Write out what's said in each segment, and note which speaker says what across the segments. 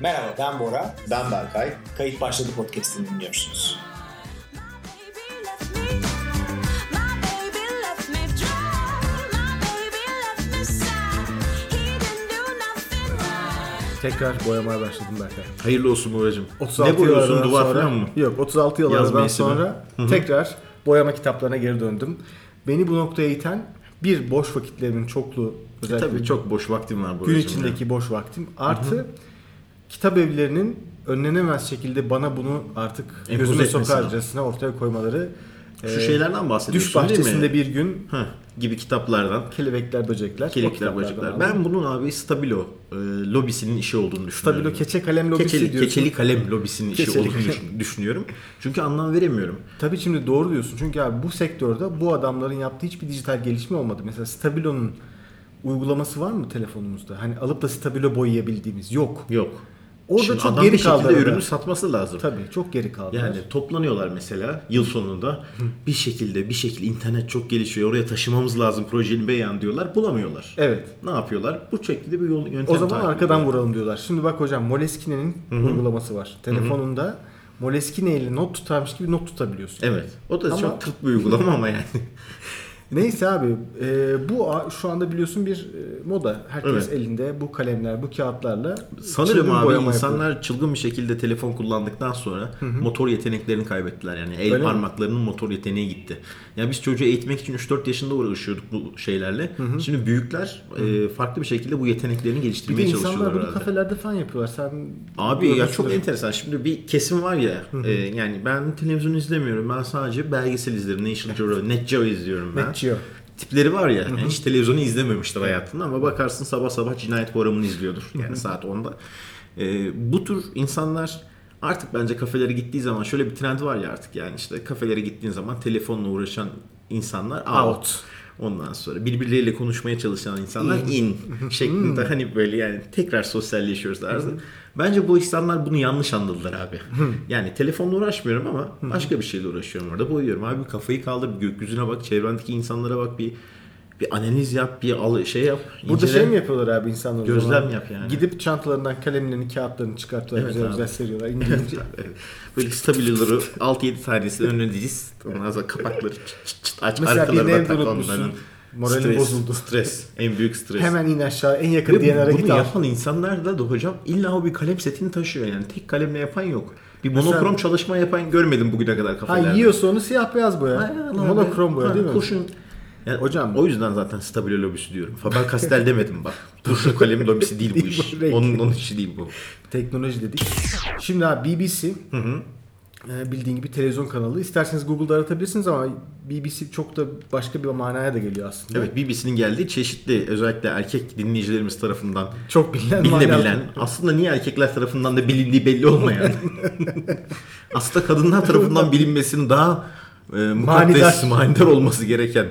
Speaker 1: Merhaba ben Bora.
Speaker 2: Ben Berkay.
Speaker 1: Kayıt başladı podcast'ini dinliyorsunuz.
Speaker 3: Tekrar boyamaya başladım Berkay.
Speaker 2: Hayırlı olsun Boracığım.
Speaker 3: 36
Speaker 2: ne boyuyorsun
Speaker 3: yıllardan
Speaker 2: duvar
Speaker 3: sonra,
Speaker 2: falan mı?
Speaker 3: Yok 36
Speaker 2: Yaz
Speaker 3: yıllardan
Speaker 2: mevsimi.
Speaker 3: sonra tekrar boyama kitaplarına geri döndüm. Beni bu noktaya iten bir boş vakitlerimin çokluğu özellikle
Speaker 2: E, Tabii çok boş vaktim var Boracığım.
Speaker 3: gün
Speaker 2: ya.
Speaker 3: içindeki boş vaktim artı kitap evlerinin önlenemez şekilde bana bunu artık
Speaker 2: Empoze
Speaker 3: gözüme
Speaker 2: etmesi
Speaker 3: sokarcasına ortaya koymaları e,
Speaker 2: Şu şeylerden bahsediyorsun
Speaker 3: Düş bahçesinde
Speaker 2: değil mi?
Speaker 3: bir gün
Speaker 2: Heh, gibi kitaplardan.
Speaker 3: kelebekler, böcekler, o
Speaker 2: Kelekler,
Speaker 3: kitaplardan
Speaker 2: bacaklar.
Speaker 3: aldım.
Speaker 2: Ben bunun abi Stabilo e, lobisinin işi olduğunu düşünüyorum.
Speaker 3: Stabilo keçe kalem lobisi
Speaker 2: keçeli,
Speaker 3: diyorsun.
Speaker 2: keçeli kalem lobisinin işi
Speaker 3: Keçeli
Speaker 2: olduğunu
Speaker 3: kalem.
Speaker 2: düşün- düşünüyorum. Çünkü anlam veremiyorum.
Speaker 3: Tabii şimdi doğru diyorsun. Çünkü abi bu sektörde bu adamların yaptığı hiçbir dijital gelişme olmadı. Mesela Stabilo'nun uygulaması var mı telefonumuzda? Hani alıp da Stabilo boyayabildiğimiz yok.
Speaker 2: Yok.
Speaker 3: Orada
Speaker 2: Şimdi
Speaker 3: çok
Speaker 2: adam
Speaker 3: geri
Speaker 2: bir şekilde
Speaker 3: kaldılar.
Speaker 2: ürünü satması lazım.
Speaker 3: Tabii çok geri kaldılar.
Speaker 2: Yani toplanıyorlar mesela yıl sonunda bir şekilde bir şekilde internet çok gelişiyor oraya taşımamız lazım projenin beyan diyorlar bulamıyorlar.
Speaker 3: Evet.
Speaker 2: Ne yapıyorlar? Bu şekilde bir yol yöntem
Speaker 3: O zaman
Speaker 2: takip
Speaker 3: arkadan
Speaker 2: ediyorlar.
Speaker 3: vuralım diyorlar. Şimdi bak hocam Moleskine'nin uygulaması var. Telefonunda Moleskine ile not tutarmış gibi not tutabiliyorsun.
Speaker 2: Evet. O da
Speaker 3: Ama-
Speaker 2: çok tırt bir uygulama ama yani.
Speaker 3: Neyse abi e, bu a- şu anda biliyorsun bir e, moda. Herkes
Speaker 2: Evet.
Speaker 3: elinde bu kalemler, bu kağıtlarla
Speaker 2: Sanırım
Speaker 3: çılgın
Speaker 2: abi
Speaker 3: boyama
Speaker 2: insanlar
Speaker 3: yapıyor.
Speaker 2: çılgın bir şekilde telefon kullandıktan sonra motor yeteneklerini kaybettiler. Yani el
Speaker 3: Öyle mi?
Speaker 2: parmaklarının motor yeteneği gitti. Yani biz çocuğu eğitmek için 3-4 yaşında uğraşıyorduk bu şeylerle. Şimdi büyükler e, farklı bir şekilde bu yeteneklerini
Speaker 3: bir de
Speaker 2: geliştirmeye çalışıyorlar
Speaker 3: insanlar bunu
Speaker 2: herhalde.
Speaker 3: kafelerde falan yapıyorlar. Sen
Speaker 2: Abi ya
Speaker 3: görmüşsündür.
Speaker 2: çok enteresan. Şimdi bir kesim var ya e, yani ben televizyon izlemiyorum. Ben sadece belgesel izlerim. National Geographic, Net Geo izliyorum ben.
Speaker 3: Net Geo.
Speaker 2: Tipleri var ya hiç televizyonu izlememiştir hayatında ama bakarsın sabah sabah cinayet programını izliyordur. Yani saat 10'da. E, bu tür insanlar artık bence kafelere gittiği zaman şöyle bir trend var ya artık yani işte kafelere gittiğin zaman telefonla uğraşan insanlar out.
Speaker 3: Out.
Speaker 2: Ondan sonra birbirleriyle konuşmaya çalışan insanlar in
Speaker 3: Hmm.
Speaker 2: şeklinde hani böyle yani tekrar sosyalleşiyoruz tarzı. Bence bu insanlar bunu yanlış anladılar abi. Yani telefonla uğraşmıyorum ama başka bir şeyle uğraşıyorum orada. Boyuyorum abi kafayı kaldır bir gökyüzüne bak çevrendeki insanlara bak bir bir analiz yap bir al, şey yap.
Speaker 3: Burada
Speaker 2: incele.
Speaker 3: şey mi yapıyorlar abi insanlar? o
Speaker 2: Gözlem
Speaker 3: zaman?
Speaker 2: yap yani.
Speaker 3: Gidip çantalarından kalemlerini, kağıtlarını çıkartıyorlar.
Speaker 2: Evet
Speaker 3: güzel
Speaker 2: abi.
Speaker 3: güzel seriyorlar. İngilizce.
Speaker 2: Böyle stabiloları 6-7 tanesini önüne diziz. Ondan sonra kapakları çıt çıt çıt aç.
Speaker 3: Mesela
Speaker 2: arkalarına
Speaker 3: birini evde
Speaker 2: tak
Speaker 3: unutmuşsun.
Speaker 2: onların.
Speaker 3: Moralin
Speaker 2: Stres,
Speaker 3: bozuldu.
Speaker 2: Stres. En büyük stres.
Speaker 3: Hemen in aşağı en yakın
Speaker 2: Ve
Speaker 3: DNR'a git
Speaker 2: bunu
Speaker 3: al.
Speaker 2: yapan insanlar da, da hocam illa o bir kalem setini taşıyor yani. Tek kalemle yapan yok. Bir
Speaker 3: Mesela-
Speaker 2: monokrom çalışma yapan görmedim bugüne kadar
Speaker 3: Ha
Speaker 2: kafelerde.
Speaker 3: yiyorsa onu siyah beyaz boya.
Speaker 2: Aynen abi.
Speaker 3: Monokrom boya
Speaker 2: Ha,
Speaker 3: değil mi?
Speaker 2: Kurşun. Yani
Speaker 3: Hocam-
Speaker 2: hocam o yüzden zaten stabilo lobisi diyorum. Faber Castell demedim bak. Kurşun kalem lobisi değil bu iş.
Speaker 3: Renk.
Speaker 2: onun, onun işi değil bu.
Speaker 3: Teknoloji dedik. Şimdi abi BBC e, bildiğin gibi televizyon kanalı. İsterseniz Google'da aratabilirsiniz ama BBC çok da başka bir manaya da geliyor aslında.
Speaker 2: Evet BBC'nin geldiği çeşitli özellikle erkek dinleyicilerimiz tarafından
Speaker 3: Çok bilinen
Speaker 2: bilinebilen
Speaker 3: manalar.
Speaker 2: aslında niye erkekler tarafından da bilindiği belli olmayan aslında kadınlar tarafından bilinmesinin daha e, mukaddes,
Speaker 3: Manidar.
Speaker 2: manidar olması gereken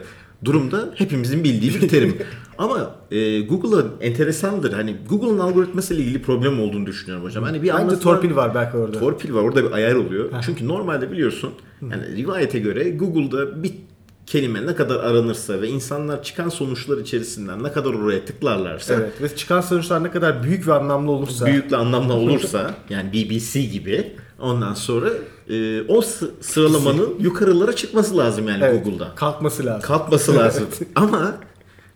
Speaker 2: durumda hepimizin bildiği bir terim. Ama e, Google'a enteresandır. Hani Google'ın algoritmasıyla ilgili problem olduğunu düşünüyorum hocam. Hani bir
Speaker 3: Bence
Speaker 2: anlatılan-
Speaker 3: torpil var belki orada.
Speaker 2: Torpil var orada bir ayar oluyor. Çünkü normalde biliyorsun yani rivayete göre Google'da bir kelime ne kadar aranırsa ve insanlar çıkan sonuçlar içerisinden ne kadar oraya tıklarlarsa
Speaker 3: evet. Ve çıkan sonuçlar ne kadar büyük ve anlamlı olursa.
Speaker 2: büyükle anlamlı olursa yani BBC gibi ondan sonra e, o sı- sıralamanın yukarılara çıkması lazım yani
Speaker 3: Evet,
Speaker 2: Google'da.
Speaker 3: Kalkması lazım.
Speaker 2: Kalkması lazım.
Speaker 3: Evet.
Speaker 2: Ama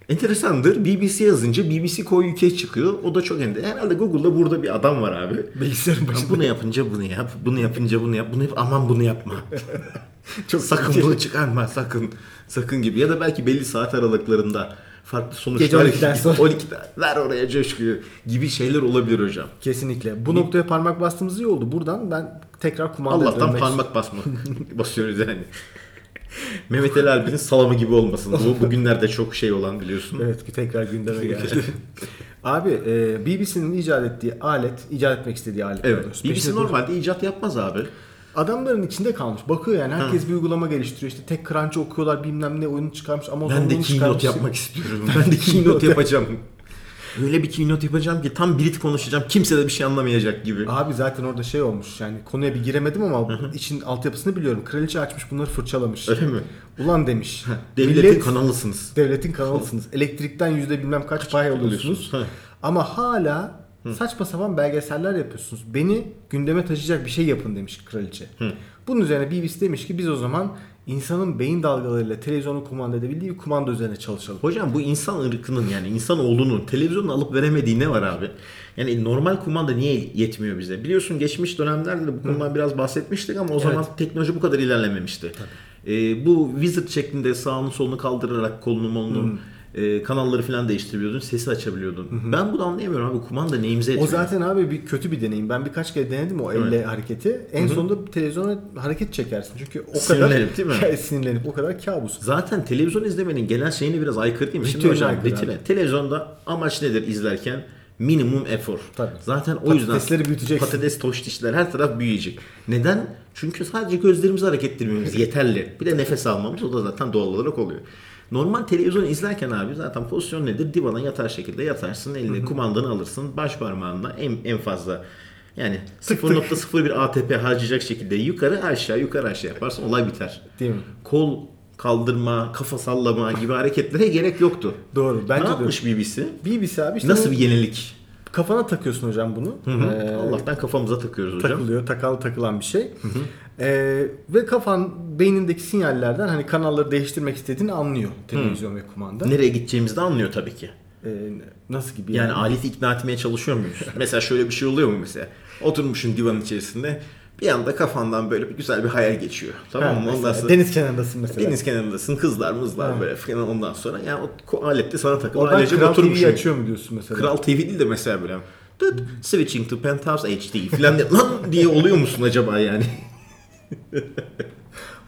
Speaker 2: enteresandır BBC yazınca BBC Koy UK çıkıyor. O da çok enteresan. Herhalde Google'da burada bir adam var abi.
Speaker 3: Bilgisayarın
Speaker 2: Ama
Speaker 3: başında.
Speaker 2: Bunu yapınca bunu yap, bunu yapınca bunu yap, bunu yap, aman bunu yapma.
Speaker 3: Çok
Speaker 2: sakın bunu çıkarma, sakın, sakın gibi. Ya da belki belli saat aralıklarında farklı sonuçlar.
Speaker 3: Gece 12'den sonra.
Speaker 2: 12'den, ver oraya coşkuyu gibi şeyler olabilir hocam.
Speaker 3: Kesinlikle. Bu noktaya parmak bastığımız iyi oldu. Buradan ben tekrar kumandaya
Speaker 2: Allah'tan
Speaker 3: dönmek
Speaker 2: parmak basma. Basıyoruz yani. Mehmet Ali Erbil'in salamı gibi olmasın. Bu bugünlerde çok şey olan biliyorsun.
Speaker 3: Evet ki tekrar gündeme geldi. Abi e, BBC'nin icat ettiği alet, icat etmek istediği alet. daha
Speaker 2: Evet.
Speaker 3: doğrusu.
Speaker 2: BBC
Speaker 3: Peşinde
Speaker 2: normalde icat yapmaz abi.
Speaker 3: Adamların içinde kalmış. Bakıyor yani herkes bir uygulama geliştiriyor. İşte tek crunch okuyorlar bilmem ne oyunu çıkarmış. Amazon
Speaker 2: Ben de
Speaker 3: bunu
Speaker 2: keynote
Speaker 3: çıkarmış.
Speaker 2: yapmak istiyorum. Ben de keynote yapacağım. Öyle bir keynote yapacağım ki tam Brit konuşacağım. Kimse de bir şey anlamayacak gibi.
Speaker 3: Abi zaten orada şey olmuş yani konuya bir giremedim ama için altyapısını biliyorum. Kraliçe açmış bunları fırçalamış.
Speaker 2: Öyle mi?
Speaker 3: Ulan demiş.
Speaker 2: Devletin
Speaker 3: millet-
Speaker 2: kanalısınız.
Speaker 3: Devletin kanalısınız. Elektrikten yüzde bilmem kaç pay alıyorsunuz.
Speaker 2: Ha.
Speaker 3: Ama hala saçma sapan belgeseller yapıyorsunuz. Beni gündeme taşıyacak bir şey yapın demiş kraliçe. Bunun üzerine BBC demiş ki biz o zaman insanın beyin dalgalarıyla televizyonu kumanda edebildiği bir kumanda üzerine çalışalım.
Speaker 2: Hocam bu insan ırkının yani insan oğlunun televizyonun alıp veremediği ne var abi? Yani normal kumanda niye yetmiyor bize? Biliyorsun geçmiş dönemlerde de bu konudan biraz bahsetmiştik ama o zaman teknoloji bu kadar ilerlememişti. Ee, bu wizard şeklinde sağını solunu kaldırarak kolunu molunu e, kanalları falan değiştirebiliyordun. Sesi açabiliyordun. Ben bunu anlayamıyorum abi. Kumanda
Speaker 3: O
Speaker 2: neyimize yetmiyor?
Speaker 3: zaten abi bir kötü bir deneyim. Ben birkaç kere denedim o elle hareketi. En sonunda televizyona hareket çekersin. Çünkü o kadar
Speaker 2: Sinirlenip değil mi?
Speaker 3: Ya, sinirlenip o kadar kabus.
Speaker 2: Zaten televizyon izlemenin genel şeyine biraz aykırı değil mi? Şimdi
Speaker 3: Ritüeline
Speaker 2: hocam
Speaker 3: aykırı
Speaker 2: ritüele. Televizyonda amaç nedir izlerken? Minimum efor.
Speaker 3: Tabii.
Speaker 2: Zaten o yüzden
Speaker 3: Patatesleri büyüteceksin.
Speaker 2: patates, toş dişler her taraf büyüyecek. Neden? Çünkü sadece gözlerimizi hareket ettirmemiz yeterli. Bir de nefes almamız o da zaten doğal olarak oluyor. Normal televizyon izlerken abi zaten pozisyon nedir? Divana yatar şekilde yatarsın. Eline kumandanı alırsın. Baş parmağınla en, en fazla yani 0.01 ATP harcayacak şekilde yukarı aşağı yukarı aşağı yaparsın olay biter
Speaker 3: Değil mi?
Speaker 2: kol kaldırma, kafa sallama gibi hareketlere gerek yoktu.
Speaker 3: Doğru. Bence
Speaker 2: ne
Speaker 3: de.
Speaker 2: yapmış BBC?
Speaker 3: BBC abi işte
Speaker 2: Nasıl
Speaker 3: bu-
Speaker 2: bir yenilik?
Speaker 3: kafana takıyorsun hocam bunu. Ee,
Speaker 2: Allah'tan kafamıza takıyoruz hocam.
Speaker 3: takılıyor. Takalı takılan bir şey. Ee, ve kafan beynindeki sinyallerden hani kanalları değiştirmek istediğini anlıyor televizyon ve kumanda.
Speaker 2: Nereye gideceğimizi de anlıyor tabii ki.
Speaker 3: Ee, nasıl gibi
Speaker 2: Yani aleti ikna etmeye çalışıyor muyuz? mesela şöyle bir şey oluyor mu mesela? Oturmuşsun divanın içerisinde bir anda kafandan böyle bir güzel bir hayal geçiyor.
Speaker 3: Ha,
Speaker 2: Tamam mı? Ondan
Speaker 3: mesela
Speaker 2: sonra deniz,
Speaker 3: deniz kenarındasın mesela.
Speaker 2: kenarındasın kızlar mızlar
Speaker 3: Ha.
Speaker 2: böyle falan ondan sonra yani o ko- alet de sana takılı
Speaker 3: Oradan
Speaker 2: ailece
Speaker 3: Kral TV'yi
Speaker 2: oturmuşsun.
Speaker 3: açıyor mu diyorsun mesela?
Speaker 2: Kral TV değil de mesela böyle "Dıt, switching to penthouse HD falan diye, lan diye oluyor musun acaba yani?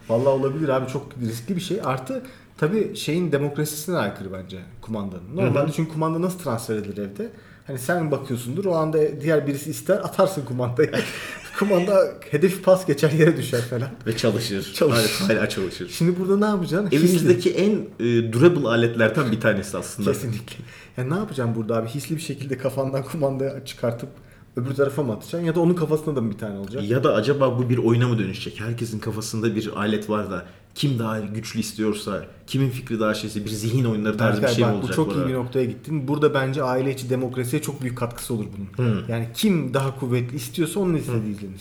Speaker 3: Vallahi olabilir abi çok riskli bir şey. Artı tabii şeyin demokrasisine aykırı bence kumandanın. Normalde çünkü kumanda nasıl transfer edilir evde? Hani sen bakıyorsundur o anda diğer birisi ister atarsın kumandayı. Kumanda hedef pas geçer yere düşer falan.
Speaker 2: Ve çalışır.
Speaker 3: Çalışır.
Speaker 2: Hala, hala çalışır.
Speaker 3: Şimdi burada ne yapacaksın? Hisli.
Speaker 2: Evimizdeki en e, durable aletlerden bir tanesi aslında.
Speaker 3: Kesinlikle. Ya ne yapacağım burada abi? Hisli bir şekilde kafandan kumandayı çıkartıp öbür tarafa mı atacaksın? Ya da onun kafasında da mı bir tane olacak?
Speaker 2: Ya da acaba bu bir oyuna mı dönüşecek? Herkesin kafasında bir alet var da kim daha güçlü istiyorsa, kimin fikri daha şeyse bir zihin oyunları tarzı bir
Speaker 3: Berkay,
Speaker 2: şey mi
Speaker 3: bak,
Speaker 2: olacak?
Speaker 3: bu çok iyi
Speaker 2: arada?
Speaker 3: bir noktaya gittin. Burada bence aile içi demokrasiye çok büyük katkısı olur bunun. Yani kim daha kuvvetli istiyorsa onun istediği izlenir.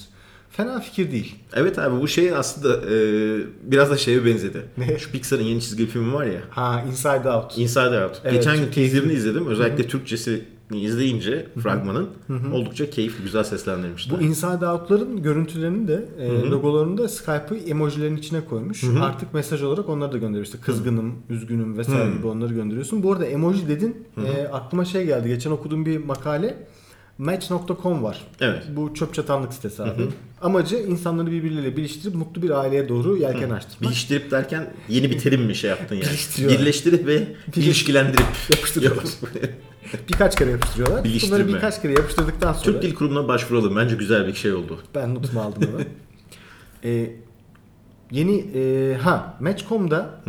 Speaker 3: Fena fikir değil.
Speaker 2: Evet abi bu şey aslında e, biraz da şeye benzedi. Şu Pixar'ın yeni çizgi filmi var ya.
Speaker 3: Ha Inside Out.
Speaker 2: Inside Out.
Speaker 3: Evet,
Speaker 2: Geçen gün
Speaker 3: çok
Speaker 2: teaserını izledim. Özellikle Türkçesini izleyince fragmanın oldukça keyifli, güzel seslendirmişler.
Speaker 3: Bu Inside Out'ların görüntülerini de e, logolarını da Skype'ı emojilerin içine koymuş. Artık mesaj olarak onları da gönderiyorsun. Kızgınım, üzgünüm vesaire gibi onları gönderiyorsun. Bu arada emoji dedin. e, aklıma şey geldi. Geçen okuduğum bir makale. Match.com var.
Speaker 2: Evet.
Speaker 3: Bu çöp çatanlık sitesi abi. Amacı insanları birbirleriyle birleştirip mutlu bir aileye doğru yelken açtırmak.
Speaker 2: Birleştirip derken yeni bir terim mi şey yaptın yani?
Speaker 3: Birleştiriyor.
Speaker 2: Birleştirip ve ilişkilendirip.
Speaker 3: Yapıştırıyor. birkaç kere yapıştırıyorlar.
Speaker 2: Birleştirme.
Speaker 3: Bunları birkaç kere yapıştırdıktan sonra
Speaker 2: Türk Dil Kurumu'na başvuralım. Bence güzel bir şey oldu.
Speaker 3: ben notumu aldım onu. Ee, yeni e, ha Match.com'da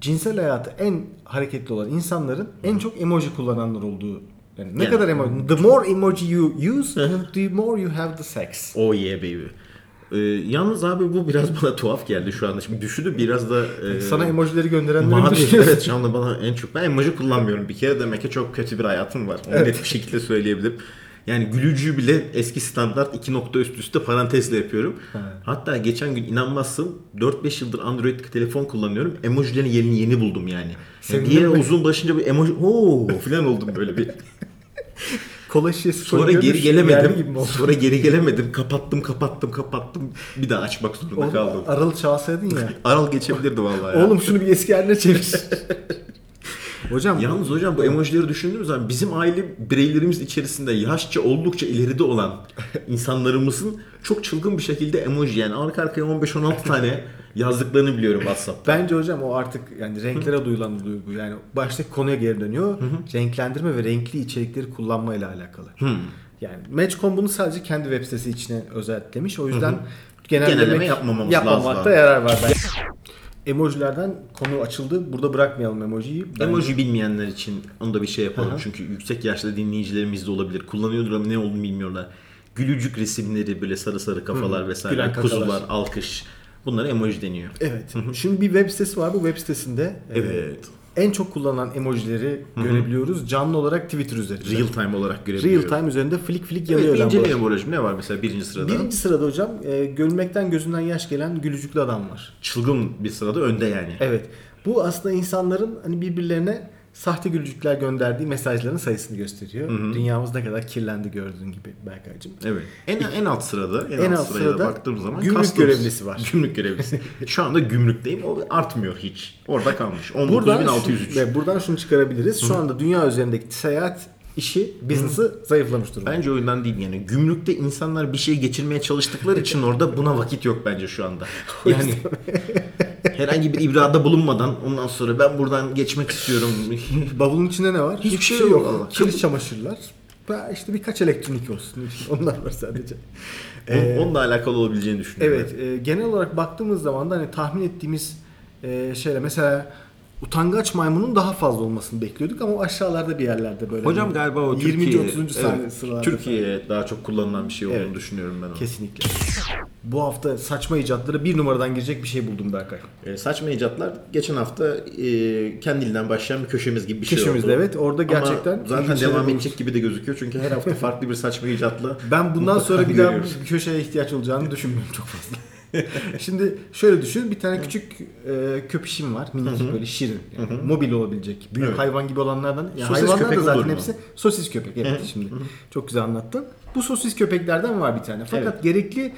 Speaker 3: cinsel hayatı en hareketli olan insanların en çok emoji kullananlar olduğu yani ne
Speaker 2: Yani-
Speaker 3: kadar emoji the more emoji you use the more you have the sex.
Speaker 2: Oh yeah baby. Ee, yalnız abi bu biraz bana tuhaf geldi şu anda. Şimdi düşündüm biraz da... e,
Speaker 3: Sana emojileri gönderenleri mi
Speaker 2: Mavi
Speaker 3: düşünüyorsun?
Speaker 2: evet şu anda bana en çok ben emoji kullanmıyorum bir kere demek ki çok kötü bir hayatım var. Onu net bir şekilde söyleyebilirim. Yani gülücüğü bile eski standart iki nokta üst üste parantezle yapıyorum. Hatta geçen gün inanmazsın 4-5 yıldır Android telefon kullanıyorum. Emojilerin yerini yeni buldum yani. yani
Speaker 3: Sevindim
Speaker 2: bir yere
Speaker 3: mi?
Speaker 2: uzun başınca bir emoji ooo falan oldum böyle bir.
Speaker 3: Kola şişesi
Speaker 2: Sonra
Speaker 3: koyuyor,
Speaker 2: geri
Speaker 3: şu yerli
Speaker 2: gelemedim.
Speaker 3: gibi mi oldu?
Speaker 2: Sonra geri gelemedim. Kapattım kapattım kapattım. Bir daha açmak zorunda kaldım.
Speaker 3: Oğlum, Aralı çalsaydın ya.
Speaker 2: Aral geçebilirdi vallahi. ya.
Speaker 3: Oğlum şunu bir eski haline çevir. Hocam
Speaker 2: Yalnız hocam bu emojileri düşündüğümüz zaman bizim aile bireylerimiz içerisinde yaşça oldukça ileride olan insanlarımızın çok çılgın bir şekilde emoji yani arka arkaya 15-16 tane yazdıklarını biliyorum WhatsApp.
Speaker 3: Bence hocam o artık yani renklere duyulan duygu. Yani baştaki konuya geri dönüyor. Renklendirme ve renkli içerikleri kullanmayla alakalı. Yani Match.com bunu sadece kendi web sitesi içine özetlemiş. O yüzden genellemek
Speaker 2: Genelleme yapmamamız lazım
Speaker 3: yapmamakta
Speaker 2: abi.
Speaker 3: yarar var bence. emojilerden konu açıldı. Burada bırakmayalım emojiyi. Ben-
Speaker 2: Emoji bilmeyenler için onu da bir şey yapalım.
Speaker 3: Hı hı.
Speaker 2: Çünkü yüksek yaşlı dinleyicilerimiz de olabilir. Kullanıyordur ama ne olduğunu bilmiyorlar. Gülücük resimleri böyle sarı sarı kafalar vesaire.
Speaker 3: Gülen kakalar.
Speaker 2: kuzular, alkış. Bunlara emoji deniyor.
Speaker 3: Evet. Şimdi bir web sitesi var. Bu web sitesinde e,
Speaker 2: Evet.
Speaker 3: en çok kullanılan emojileri görebiliyoruz. Canlı olarak Twitter üzerinde.
Speaker 2: Real time olarak
Speaker 3: Real
Speaker 2: görebiliyoruz.
Speaker 3: time üzerinde flik flik
Speaker 2: Evet,
Speaker 3: yanıyor.
Speaker 2: bir
Speaker 3: lan bu
Speaker 2: inceleyelim
Speaker 3: arada.
Speaker 2: bu aracım. Ne var mesela birinci sırada?
Speaker 3: Birinci sırada hocam e, gülmekten gözünden yaş gelen gülücüklü adam var.
Speaker 2: Çılgın bir sırada önde yani.
Speaker 3: Evet. Bu aslında insanların hani birbirlerine sahte gülücükler gönderdiği mesajların sayısını gösteriyor. Dünyamız ne kadar kirlendi gördüğün gibi Berkay'cığım.
Speaker 2: Evet. En, en alt sırada, en,
Speaker 3: En
Speaker 2: alt,
Speaker 3: alt
Speaker 2: sıraya
Speaker 3: sırada
Speaker 2: baktığım zaman
Speaker 3: gümrük
Speaker 2: customs.
Speaker 3: görevlisi var.
Speaker 2: Gümrük görevlisi. Şu anda gümrükteyim. O artmıyor hiç. Orada kalmış.
Speaker 3: Buradan, şu-
Speaker 2: 19603.
Speaker 3: ve buradan şunu çıkarabiliriz. Şu anda dünya üzerindeki seyahat işi, business'ı zayıflamış durumda.
Speaker 2: Bence o yüzden değil yani. Gümrükte insanlar bir şey geçirmeye çalıştıkları için orada buna vakit yok bence şu anda. Yani herhangi bir ibrada bulunmadan ondan sonra ben buradan geçmek istiyorum.
Speaker 3: Bavulun içinde ne var?
Speaker 2: Hiçbir şey yok valla.
Speaker 3: Kirli çamaşırlar. Ve işte birkaç elektronik olsun. Onlar var sadece.
Speaker 2: On- Onunla alakalı olabileceğini düşünüyorum.
Speaker 3: Ee, Evet, e, genel olarak baktığımız zaman da hani tahmin ettiğimiz e, şeyler mesela utangaç maymunun daha fazla olmasını bekliyorduk ama aşağılarda bir yerlerde böyle.
Speaker 2: Hocam
Speaker 3: hani
Speaker 2: galiba o
Speaker 3: 20.
Speaker 2: Türkiye,
Speaker 3: 30.
Speaker 2: evet,
Speaker 3: sıralarda.
Speaker 2: Türkiye'ye daha çok kullanılan bir şey olduğunu
Speaker 3: Evet.
Speaker 2: düşünüyorum ben. onu.
Speaker 3: Kesinlikle. Bu hafta saçma icatları bir numaradan girecek bir şey buldum Berkay.
Speaker 2: E, saçma icatlar geçen hafta e, kendiliğinden başlayan bir köşemiz gibi bir şey oldu.
Speaker 3: Köşemizde evet orada
Speaker 2: Ama
Speaker 3: gerçekten
Speaker 2: zaten
Speaker 3: ilginç şeyler
Speaker 2: devam
Speaker 3: bulduk.
Speaker 2: edecek gibi de gözüküyor çünkü her hafta farklı bir saçma icatla
Speaker 3: Ben bundan
Speaker 2: mutlaka
Speaker 3: sonra bir daha
Speaker 2: görüyoruz.
Speaker 3: bir köşeye ihtiyaç olacağını düşünmüyorum çok fazla. Şimdi şöyle düşün bir tane küçük e, köpüşüm var minicik böyle şirin yani mobil olabilecek büyük
Speaker 2: Evet.
Speaker 3: hayvan gibi olanlardan yani
Speaker 2: Sosis
Speaker 3: hayvanlar
Speaker 2: köpek
Speaker 3: da zaten
Speaker 2: olur mu?
Speaker 3: hepsi sosis köpek evet şimdi çok güzel anlattın. Bu sosis köpeklerden var bir tane fakat gerekli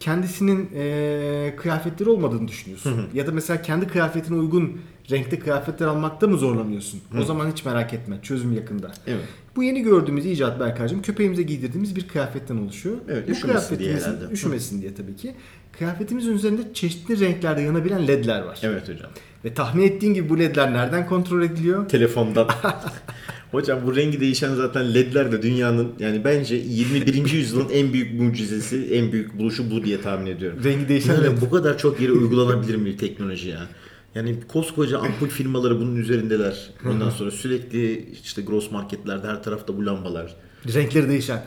Speaker 3: kendisinin e, kıyafetleri olmadığını düşünüyorsun ya da mesela kendi kıyafetine uygun renkte kıyafetler almakta mı zorlanıyorsun o zaman hiç merak etme çözüm yakında.
Speaker 2: Evet.
Speaker 3: Bu yeni gördüğümüz icat Berkay'cığım köpeğimize giydirdiğimiz bir kıyafetten oluşuyor.
Speaker 2: Evet,
Speaker 3: Bu
Speaker 2: üşümesin diye
Speaker 3: kıyafetimizin-
Speaker 2: herhalde.
Speaker 3: Üşümesin diye tabii ki. Kıyafetimizin üzerinde çeşitli renklerde yanabilen ledler var.
Speaker 2: Evet hocam.
Speaker 3: Ve tahmin ettiğin gibi bu ledler nereden kontrol ediliyor?
Speaker 2: Telefondan. hocam bu rengi değişen zaten ledler de dünyanın yani bence 21. yüzyılın en büyük mucizesi, en büyük buluşu bu diye tahmin ediyorum.
Speaker 3: Rengi değişen
Speaker 2: Yani
Speaker 3: led.
Speaker 2: bu kadar çok yere uygulanabilir mi teknoloji ya? Yani koskoca ampul firmaları bunun üzerindeler. Ondan sonra sürekli işte gross marketlerde her tarafta bu lambalar.
Speaker 3: Renkleri değişen.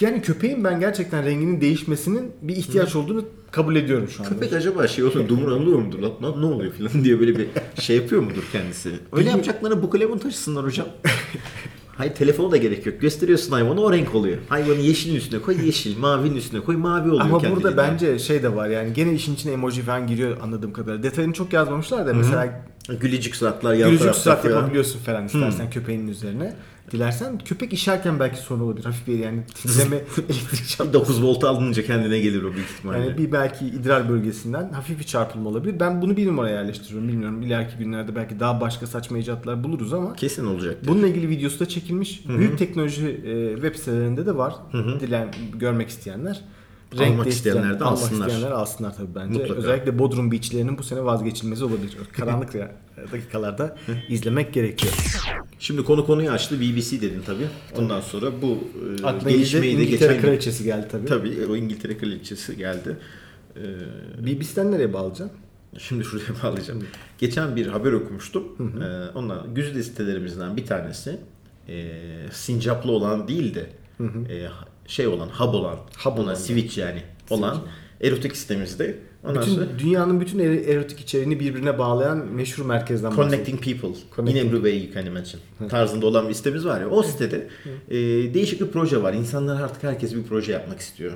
Speaker 3: Yani köpeğin ben gerçekten renginin değişmesinin bir ihtiyaç olduğunu kabul ediyorum şu anda.
Speaker 2: Köpek acaba şey oluyor dumur alıyor mudur lan, lan ne oluyor falan diye böyle bir şey yapıyor mudur kendisi? Öyle yapacaklarına bu kalemon taşısınlar hocam. Hayır telefonu da gerek yok. Gösteriyorsun hayvanı o renk oluyor. Hayvanı yeşilin üstüne koy yeşil, mavinin üstüne koy mavi oluyor
Speaker 3: Ama
Speaker 2: kendiliğinden.
Speaker 3: burada bence şey de var yani gene işin içine emoji falan giriyor anladığım kadarıyla. Detayını çok yazmamışlar da mesela
Speaker 2: Gülecik suratlar yan
Speaker 3: Gülücük
Speaker 2: tarafta
Speaker 3: surat
Speaker 2: falan.
Speaker 3: yapabiliyorsun falan istersen köpeğinin üzerine. Dilersen köpek işerken belki sorun olabilir. Hafif bir yani titreme elektrik çarpması.
Speaker 2: Bir 9 volt alınca kendine gelir o büyük ihtimalle.
Speaker 3: Yani bir belki idrar bölgesinden hafif bir çarpılma olabilir. Ben bunu bir numara yerleştiriyorum. Bilmiyorum ileriki günlerde belki daha başka saçma icatlar buluruz ama
Speaker 2: Kesin olacak.
Speaker 3: bununla ilgili videosu da çekilmiş. Büyük teknoloji e, web sitelerinde de var. Dilen görmek isteyenler.
Speaker 2: Almak
Speaker 3: Renk değiştiren-
Speaker 2: isteyenler de alsınlar.
Speaker 3: Almak isteyenler alsınlar tabii bence.
Speaker 2: Mutlaka.
Speaker 3: Özellikle Bodrum Beach'lerinin bu sene vazgeçilmezi olabilir. Karanlık dakikalarda izlemek gerekiyor.
Speaker 2: Şimdi konu konuyu açtı. BBC dedin tabii. Ondan sonra bu e,
Speaker 3: Aklına
Speaker 2: gelişmeyi de
Speaker 3: İngiltere
Speaker 2: geçen
Speaker 3: kraliçesi geldi tabii.
Speaker 2: Tabii e, o İngiltere kraliçesi geldi. Ee,
Speaker 3: BBC'den nereye bağlayacaksın?
Speaker 2: Şimdi şuraya bağlayacağım. Geçen bir haber okumuştum. Ee, ondan güzide sitelerimizden bir tanesi e, sincaplı olan değil de e, şey olan, hub olan, hub olan, switch yani olan erotik sitemizde. Ondan sonra
Speaker 3: Bütün, dünyanın bütün er- erotik içeriğini birbirine bağlayan meşhur merkezden bahsediyorum.
Speaker 2: Connecting People
Speaker 3: Connecting
Speaker 2: in Every Way You Can Imagine tarzında olan bir sitemiz var ya. O sitede e, değişik bir proje var. İnsanlar artık herkes bir proje yapmak istiyor.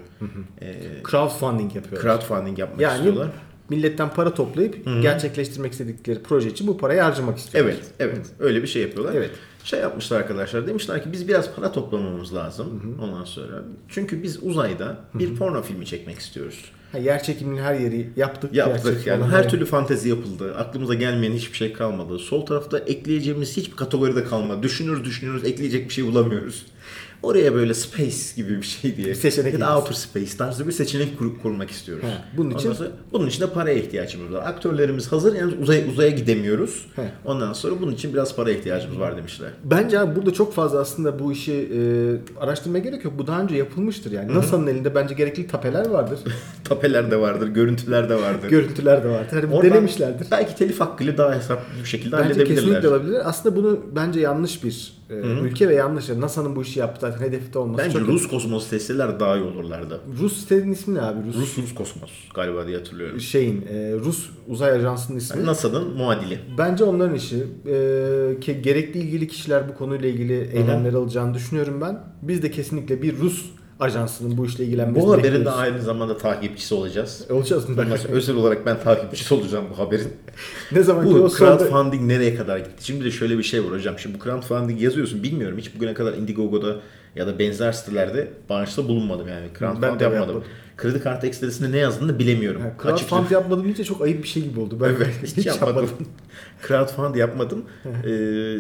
Speaker 2: E,
Speaker 3: Crowdfunding yapıyor.
Speaker 2: crowdfunding yapmak
Speaker 3: yani
Speaker 2: istiyorlar.
Speaker 3: milletten para toplayıp gerçekleştirmek istedikleri proje için bu parayı harcamak istiyorlar.
Speaker 2: Evet, evet. Öyle bir şey yapıyorlar.
Speaker 3: Evet.
Speaker 2: Şey yapmışlar arkadaşlar. Demişler ki biz biraz para toplamamız lazım ondan sonra. Çünkü biz uzayda bir porno filmi çekmek istiyoruz.
Speaker 3: Ha, yer çekiminin her yeri yaptık.
Speaker 2: Yaptık
Speaker 3: Yerçekimi
Speaker 2: yani
Speaker 3: olan
Speaker 2: her
Speaker 3: yer-
Speaker 2: türlü fantezi yapıldı. Aklımıza gelmeyen hiçbir şey kalmadı. Sol tarafta ekleyeceğimiz hiçbir kategoride kalmadı. Düşünürüz düşünürüz ekleyecek bir şey bulamıyoruz. Oraya böyle space gibi bir şey diye.
Speaker 3: Seçenek
Speaker 2: ya da
Speaker 3: yazsın.
Speaker 2: outer space tarzı bir seçenek kur- kurmak istiyoruz.
Speaker 3: He, bunun
Speaker 2: Ondan
Speaker 3: için-
Speaker 2: sonra- bunun için de paraya ihtiyacımız var. Aktörlerimiz hazır yalnız uzaya, uzaya gidemiyoruz.
Speaker 3: He.
Speaker 2: Ondan sonra bunun için biraz paraya ihtiyacımız var demişler.
Speaker 3: Bence abi burada çok fazla aslında bu işi e, araştırmaya gerek yok. Bu daha önce yapılmıştır yani. NASA'nın elinde bence gerekli tapeler vardır.
Speaker 2: Tapeler de vardır, görüntüler de vardır.
Speaker 3: Görüntüler de vardır. Hani
Speaker 2: Oradan
Speaker 3: denemişlerdir.
Speaker 2: Belki telif hakkıyla daha hesaplı bir şekilde
Speaker 3: Bence
Speaker 2: halledebilirler.
Speaker 3: kesinlikle olabilir. Aslında bunu bence yanlış bir e, ülke ve yanlış. Yani NASA'nın bu işi yaptı zaten hedefi de olması
Speaker 2: Bence
Speaker 3: çok...
Speaker 2: Rus kosmos testeler daha iyi olurlardı.
Speaker 3: Rus sitenin ismi ne abi? Rus,
Speaker 2: Rus Rus kosmos galiba diye hatırlıyorum.
Speaker 3: şeyin, e, Rus uzay ajansının ismi.
Speaker 2: NASA'nın muadili.
Speaker 3: Bence onların işi. Ee, ke- gerekli ilgili kişiler bu konuyla ilgili eylemler alacağını düşünüyorum ben. Biz de kesinlikle bir Rus ajansının bu işle ilgilenmesini
Speaker 2: Bu haberin de
Speaker 3: bekliyoruz. E,
Speaker 2: aynı zamanda takipçisi olacağız.
Speaker 3: Olacağız mı?
Speaker 2: Ondan sonra Özel olarak ben takipçisi olacağım bu haberin.
Speaker 3: ne zaman ki o
Speaker 2: Bu
Speaker 3: sonda-
Speaker 2: crowdfunding nereye kadar gitti? Şimdi de şöyle bir şey var hocam. Şimdi bu crowdfunding yazıyorsun bilmiyorum. Hiç bugüne kadar Indiegogo'da ya da benzer sitelerde bağışta bulunmadım yani.
Speaker 3: Ben
Speaker 2: Crowdfund
Speaker 3: de
Speaker 2: yapmadım.
Speaker 3: yapmadım.
Speaker 2: Kredi kartı ekstresinde ne yazdığını bilemiyorum.
Speaker 3: Ha,
Speaker 2: Açıkçası-
Speaker 3: Crowdfund yapmadım deyince çok ayıp bir şey gibi oldu. Ben
Speaker 2: Evet, hiç yapmadım. Crowdfund yapmadım. Ee,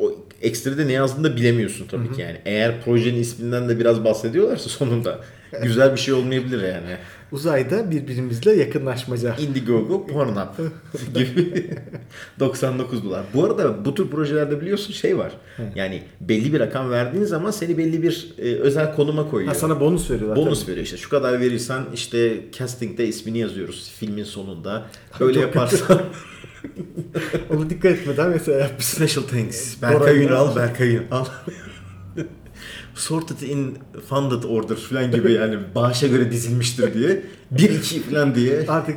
Speaker 2: o ekstrede ne yazdığını da bilemiyorsun tabii ki yani. Eğer projenin isminden de biraz bahsediyorlarsa sonunda güzel bir şey olmayabilir yani.
Speaker 3: Uzayda birbirimizle yakınlaşmaca.
Speaker 2: Indiegogo, Pornhub gibi 99 dolar. Bu arada bu tür projelerde biliyorsun şey var. Yani belli bir rakam verdiğin zaman seni belli bir e, özel konuma koyuyor.
Speaker 3: Ha, sana bonus veriyorlar.
Speaker 2: Bonus
Speaker 3: tabii.
Speaker 2: veriyor işte. Şu kadar verirsen işte castingde ismini yazıyoruz filmin sonunda. Böyle
Speaker 3: çok kötü.
Speaker 2: yaparsan
Speaker 3: Ona dikkat etmeden mesela yapmışsın.
Speaker 2: Special thanks.
Speaker 3: Bora
Speaker 2: Berkay
Speaker 3: Ünal.
Speaker 2: Ünal, Berkay Ünal. Sorted in funded order falan gibi yani bağışa göre dizilmiştir diye. 1-2 falan diye
Speaker 3: Artık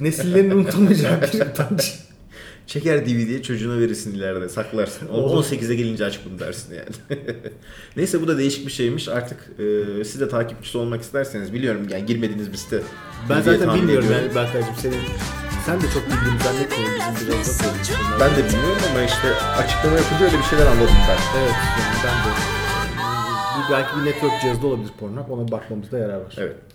Speaker 3: nesillerin unutulmayacağı bir utanç.
Speaker 2: çeker DVD'ye çocuğuna verirsin ileride saklarsın. O-
Speaker 3: Oğlum.
Speaker 2: 18'e gelince aç bunu dersin yani. Neyse bu da değişik bir şeymiş artık e, siz de takipçisi olmak isterseniz biliyorum yani girmediğiniz bir site.
Speaker 3: Ben
Speaker 2: diye
Speaker 3: zaten
Speaker 2: tahmin
Speaker 3: bilmiyorum
Speaker 2: ediyorum.
Speaker 3: yani Berkay'cığım senin. Sen de çok bildiğini zannetmiyorum bizim biraz da konuşmalar.
Speaker 2: Ben de bilmiyorum ama işte açıklama yapınca öyle bir şeyler anladım ben.
Speaker 3: Evet yani ben de. Bu belki bir network cihazı da olabilir Pornhub. Ona bakmamızda yarar var.
Speaker 2: Evet.